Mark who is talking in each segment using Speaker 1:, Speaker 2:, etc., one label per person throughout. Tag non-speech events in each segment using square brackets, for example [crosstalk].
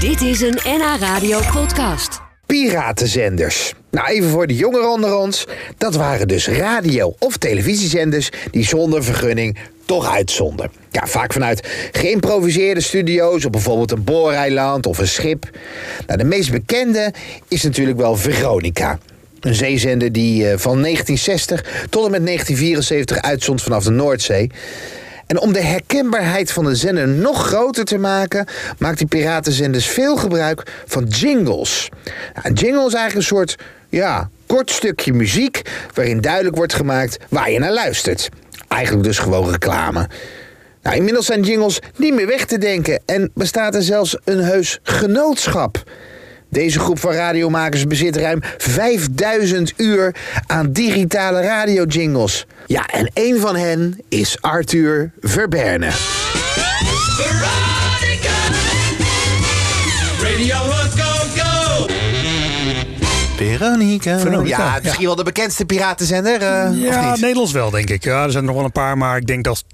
Speaker 1: Dit is een NH Radio podcast.
Speaker 2: piratenzenders. Nou, even voor de jongeren onder ons. Dat waren dus radio- of televisiezenders die zonder vergunning toch uitzonden. Ja, vaak vanuit geïmproviseerde studio's op bijvoorbeeld een booreiland of een schip. Nou, de meest bekende is natuurlijk wel Veronica. Een zeezender die eh, van 1960 tot en met 1974 uitzond vanaf de Noordzee. En om de herkenbaarheid van de zender nog groter te maken, maakt die piratenzenders veel gebruik van jingles. Nou, een jingle is eigenlijk een soort ja, kort stukje muziek waarin duidelijk wordt gemaakt waar je naar luistert. Eigenlijk dus gewoon reclame. Nou, inmiddels zijn jingles niet meer weg te denken en bestaat er zelfs een heus genootschap. Deze groep van radiomakers bezit ruim 5000 uur aan digitale radiojingles. Ja, en één van hen is Arthur Verberne.
Speaker 3: Veronica. Radio Rock, go, go.
Speaker 4: Veronica.
Speaker 2: Ja, misschien wel de bekendste piratenzender, eh, of
Speaker 5: Ja,
Speaker 2: niet?
Speaker 5: Nederlands wel, denk ik. Ja, er zijn er nog wel een paar, maar ik denk dat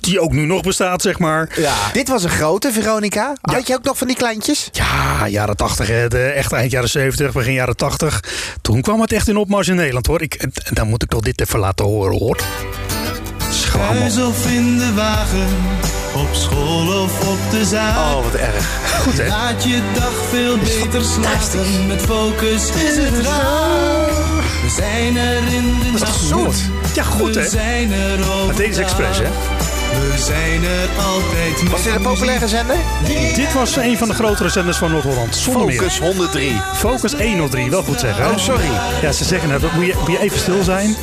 Speaker 5: die ook nu nog bestaat, zeg maar.
Speaker 2: Ja. Dit was een grote, Veronica. Had je ook nog van die kleintjes?
Speaker 5: Ja, jaren 80, hè. De, echt eind jaren 70, begin jaren 80. Toen kwam het echt in opmars in Nederland, hoor. Ik, en dan moet ik toch dit even laten horen, hoor. Schaam. man.
Speaker 4: Thuis of in de wagen, op school of op de zaal.
Speaker 2: wat erg.
Speaker 5: Goed, hè?
Speaker 4: Laat je dag veel beter slapen, met focus is het raar. We zijn er in de
Speaker 5: Dat is
Speaker 4: nacht.
Speaker 5: toch zoet? Ja, goed,
Speaker 4: We
Speaker 5: hè?
Speaker 4: zijn er
Speaker 5: Maar
Speaker 4: overdag.
Speaker 5: deze expres, hè?
Speaker 4: We zijn er altijd met
Speaker 2: Was dit een populaire zender?
Speaker 5: Dit was een van de grotere zenders van Noord-Holland. Zonder meer.
Speaker 2: 103.
Speaker 5: Focus 103, wel goed zeggen. hè?
Speaker 2: Oh, sorry.
Speaker 5: Ja, ze zeggen dat. Moet je, moet je even stil zijn?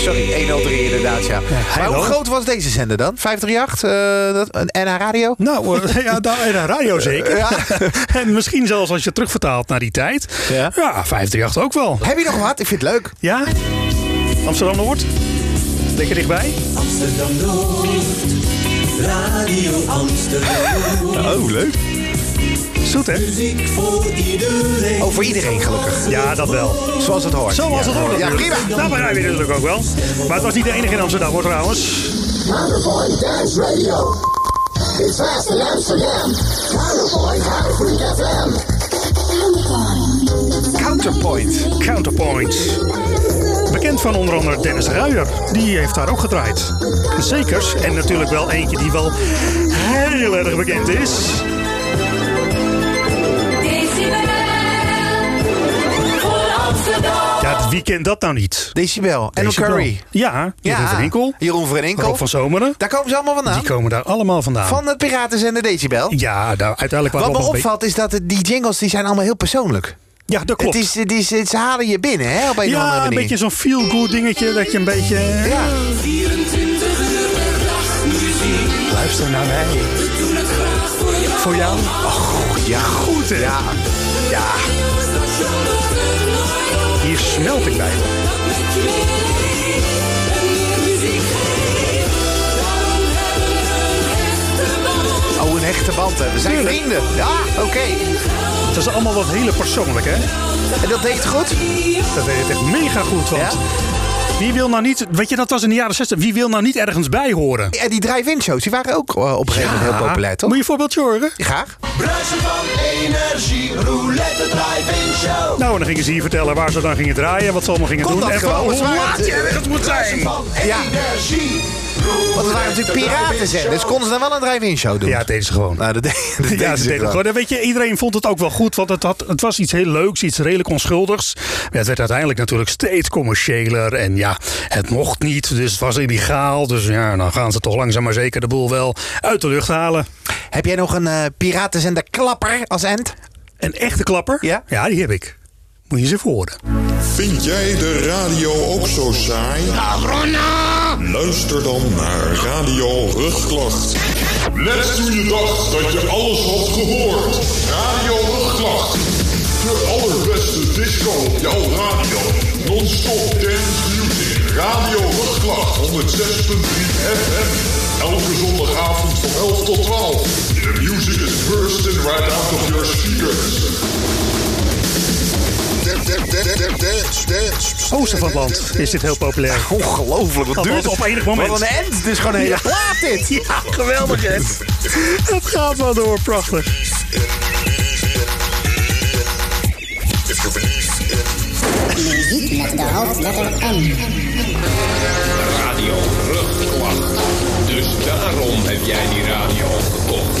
Speaker 2: Sorry, 103 inderdaad, ja. maar hoe
Speaker 5: wel.
Speaker 2: groot was deze zender dan? 538? eh, dat- en NH Radio?
Speaker 5: Nou, eh, [laughs] ja, daar in de radio zeker. [laughs] en misschien zelfs als je het terugvertaalt naar die tijd.
Speaker 2: Ja.
Speaker 5: Ja, 538 ook wel.
Speaker 2: Heb je nog wat? Ik vind het leuk.
Speaker 5: Ja? Amsterdam Noord? Lekker dichtbij?
Speaker 6: Radio Amsterdam,
Speaker 5: Oh, leuk. Zoet, hè?
Speaker 6: muziek voor iedereen.
Speaker 2: Over iedereen gelukkig.
Speaker 5: Ja, dat wel.
Speaker 2: Zoals het hoort.
Speaker 5: Zo was het hoor.
Speaker 2: Ja,
Speaker 5: natuurlijk.
Speaker 2: prima.
Speaker 5: Nou, begrijp je natuurlijk ook wel. Maar het was niet de enige in Amsterdam, hoor, trouwens.
Speaker 7: Counterpoint Dance Radio. It's fast in Amsterdam. Counterpoint High Freak FM.
Speaker 2: Counterpoint.
Speaker 5: Counterpoint. Bekend van onder andere Dennis Ruijer. Die heeft daar ook gedraaid. Zekers. En natuurlijk wel eentje die wel heel erg bekend is.
Speaker 3: Voor Amsterdam.
Speaker 5: Ja, wie kent dat nou niet?
Speaker 2: Decibel. En
Speaker 5: Deze
Speaker 2: Curry.
Speaker 5: wel. Ja, Jeroen van Inkel.
Speaker 2: Jeroen van Inkel.
Speaker 5: Rob van Zomeren.
Speaker 2: Daar komen ze allemaal vandaan.
Speaker 5: Die komen daar allemaal vandaan.
Speaker 2: Van het Piratenzender Decibel.
Speaker 5: Ja, nou,
Speaker 2: Wat
Speaker 5: uiteindelijk waren
Speaker 2: me
Speaker 5: we allemaal
Speaker 2: opvalt is dat het- die jingles die zijn allemaal heel persoonlijk.
Speaker 5: be- Ja, dat klopt.
Speaker 2: Het is, het is, het- ze halen je binnen, hè, op een of andere
Speaker 5: ja, een
Speaker 2: manier.
Speaker 5: beetje zo'n feel-good dingetje. Dat je een beetje... eh,
Speaker 2: Ja.
Speaker 5: Luister naar mij. Voor jou.
Speaker 2: Ja, goed, hè? Ja. ja.
Speaker 5: Hier smelt ik bij.
Speaker 2: Oh, een hechte band, hè. We zijn
Speaker 5: Tuurlijk.
Speaker 2: vrienden. Ja, oké.
Speaker 5: Dat is allemaal wat hele persoonlijk, hè?
Speaker 2: En dat deed het goed?
Speaker 5: Dat deed het echt mega goed, want... Wie wil nou niet... Weet je, dat was in de jaren 60. Wie wil nou niet ergens bij horen?
Speaker 2: En die drive-in shows, die waren ook eh, op een gegeven moment heel
Speaker 5: Ah,
Speaker 2: populair, toch?
Speaker 5: Moet je een voorbeeldje horen?
Speaker 2: Graag.
Speaker 6: Bruisen van energie, roulette drive-in show.
Speaker 5: Nou, en dan gingen ze hier vertellen waar ze dan gingen draaien, wat ze allemaal gingen
Speaker 2: Kon
Speaker 5: doen.
Speaker 2: dat
Speaker 5: en
Speaker 2: gewoon?
Speaker 5: hoe
Speaker 2: Het waren-
Speaker 5: laat je ergens moet zijn.
Speaker 6: Van
Speaker 2: Ja.
Speaker 6: energie,
Speaker 2: Want het waren natuurlijk piratenzenders. Konden ze dan wel een drive-in show doen?
Speaker 5: Ja, het deden ze gewoon.
Speaker 2: Nou, dat, [laughs] de- dat
Speaker 5: Ja, ze Dus deden het gewoon. En Weet je, iedereen vond het ook wel goed, want het, had, het was iets heel leuks, iets redelijk onschuldigs. Maar het werd uiteindelijk natuurlijk steeds commerciëler en ja, het mocht niet, dus het was illegaal. Dus ja, dan gaan ze toch langzaam maar zeker de boel wel uit de lucht halen.
Speaker 2: Heb jij nog een eh piratenzender klapper als end?
Speaker 5: Een echte klapper?
Speaker 2: Ja.
Speaker 5: Ja, die heb ik. Moet je eens even horen.
Speaker 8: Vind jij de radio ook zo saai? Luister dan naar Radio Rugklacht. Net toen je dacht dat je alles had gehoord. Radio Rugklacht. De allerbeste disco op jouw radio. Non-stop dance music. Radio Rugklacht 106.3 FM. Elke zondagavond van 11 tot 12. The music is bursting right out of your speakers.
Speaker 5: Oosten van het land is dit heel populair.
Speaker 2: Ongelooflijk, wat
Speaker 5: Dat
Speaker 2: duurt
Speaker 5: wordt op enig moment.
Speaker 2: Wat een end, dit is gewoon een hele plaat dit.
Speaker 5: Ja, geweldig hè. Het gaat wel door, prachtig.
Speaker 9: Muziek met de hoofdletter M.
Speaker 10: Radio Rugklacht. Dus daarom heb jij die radio gekocht.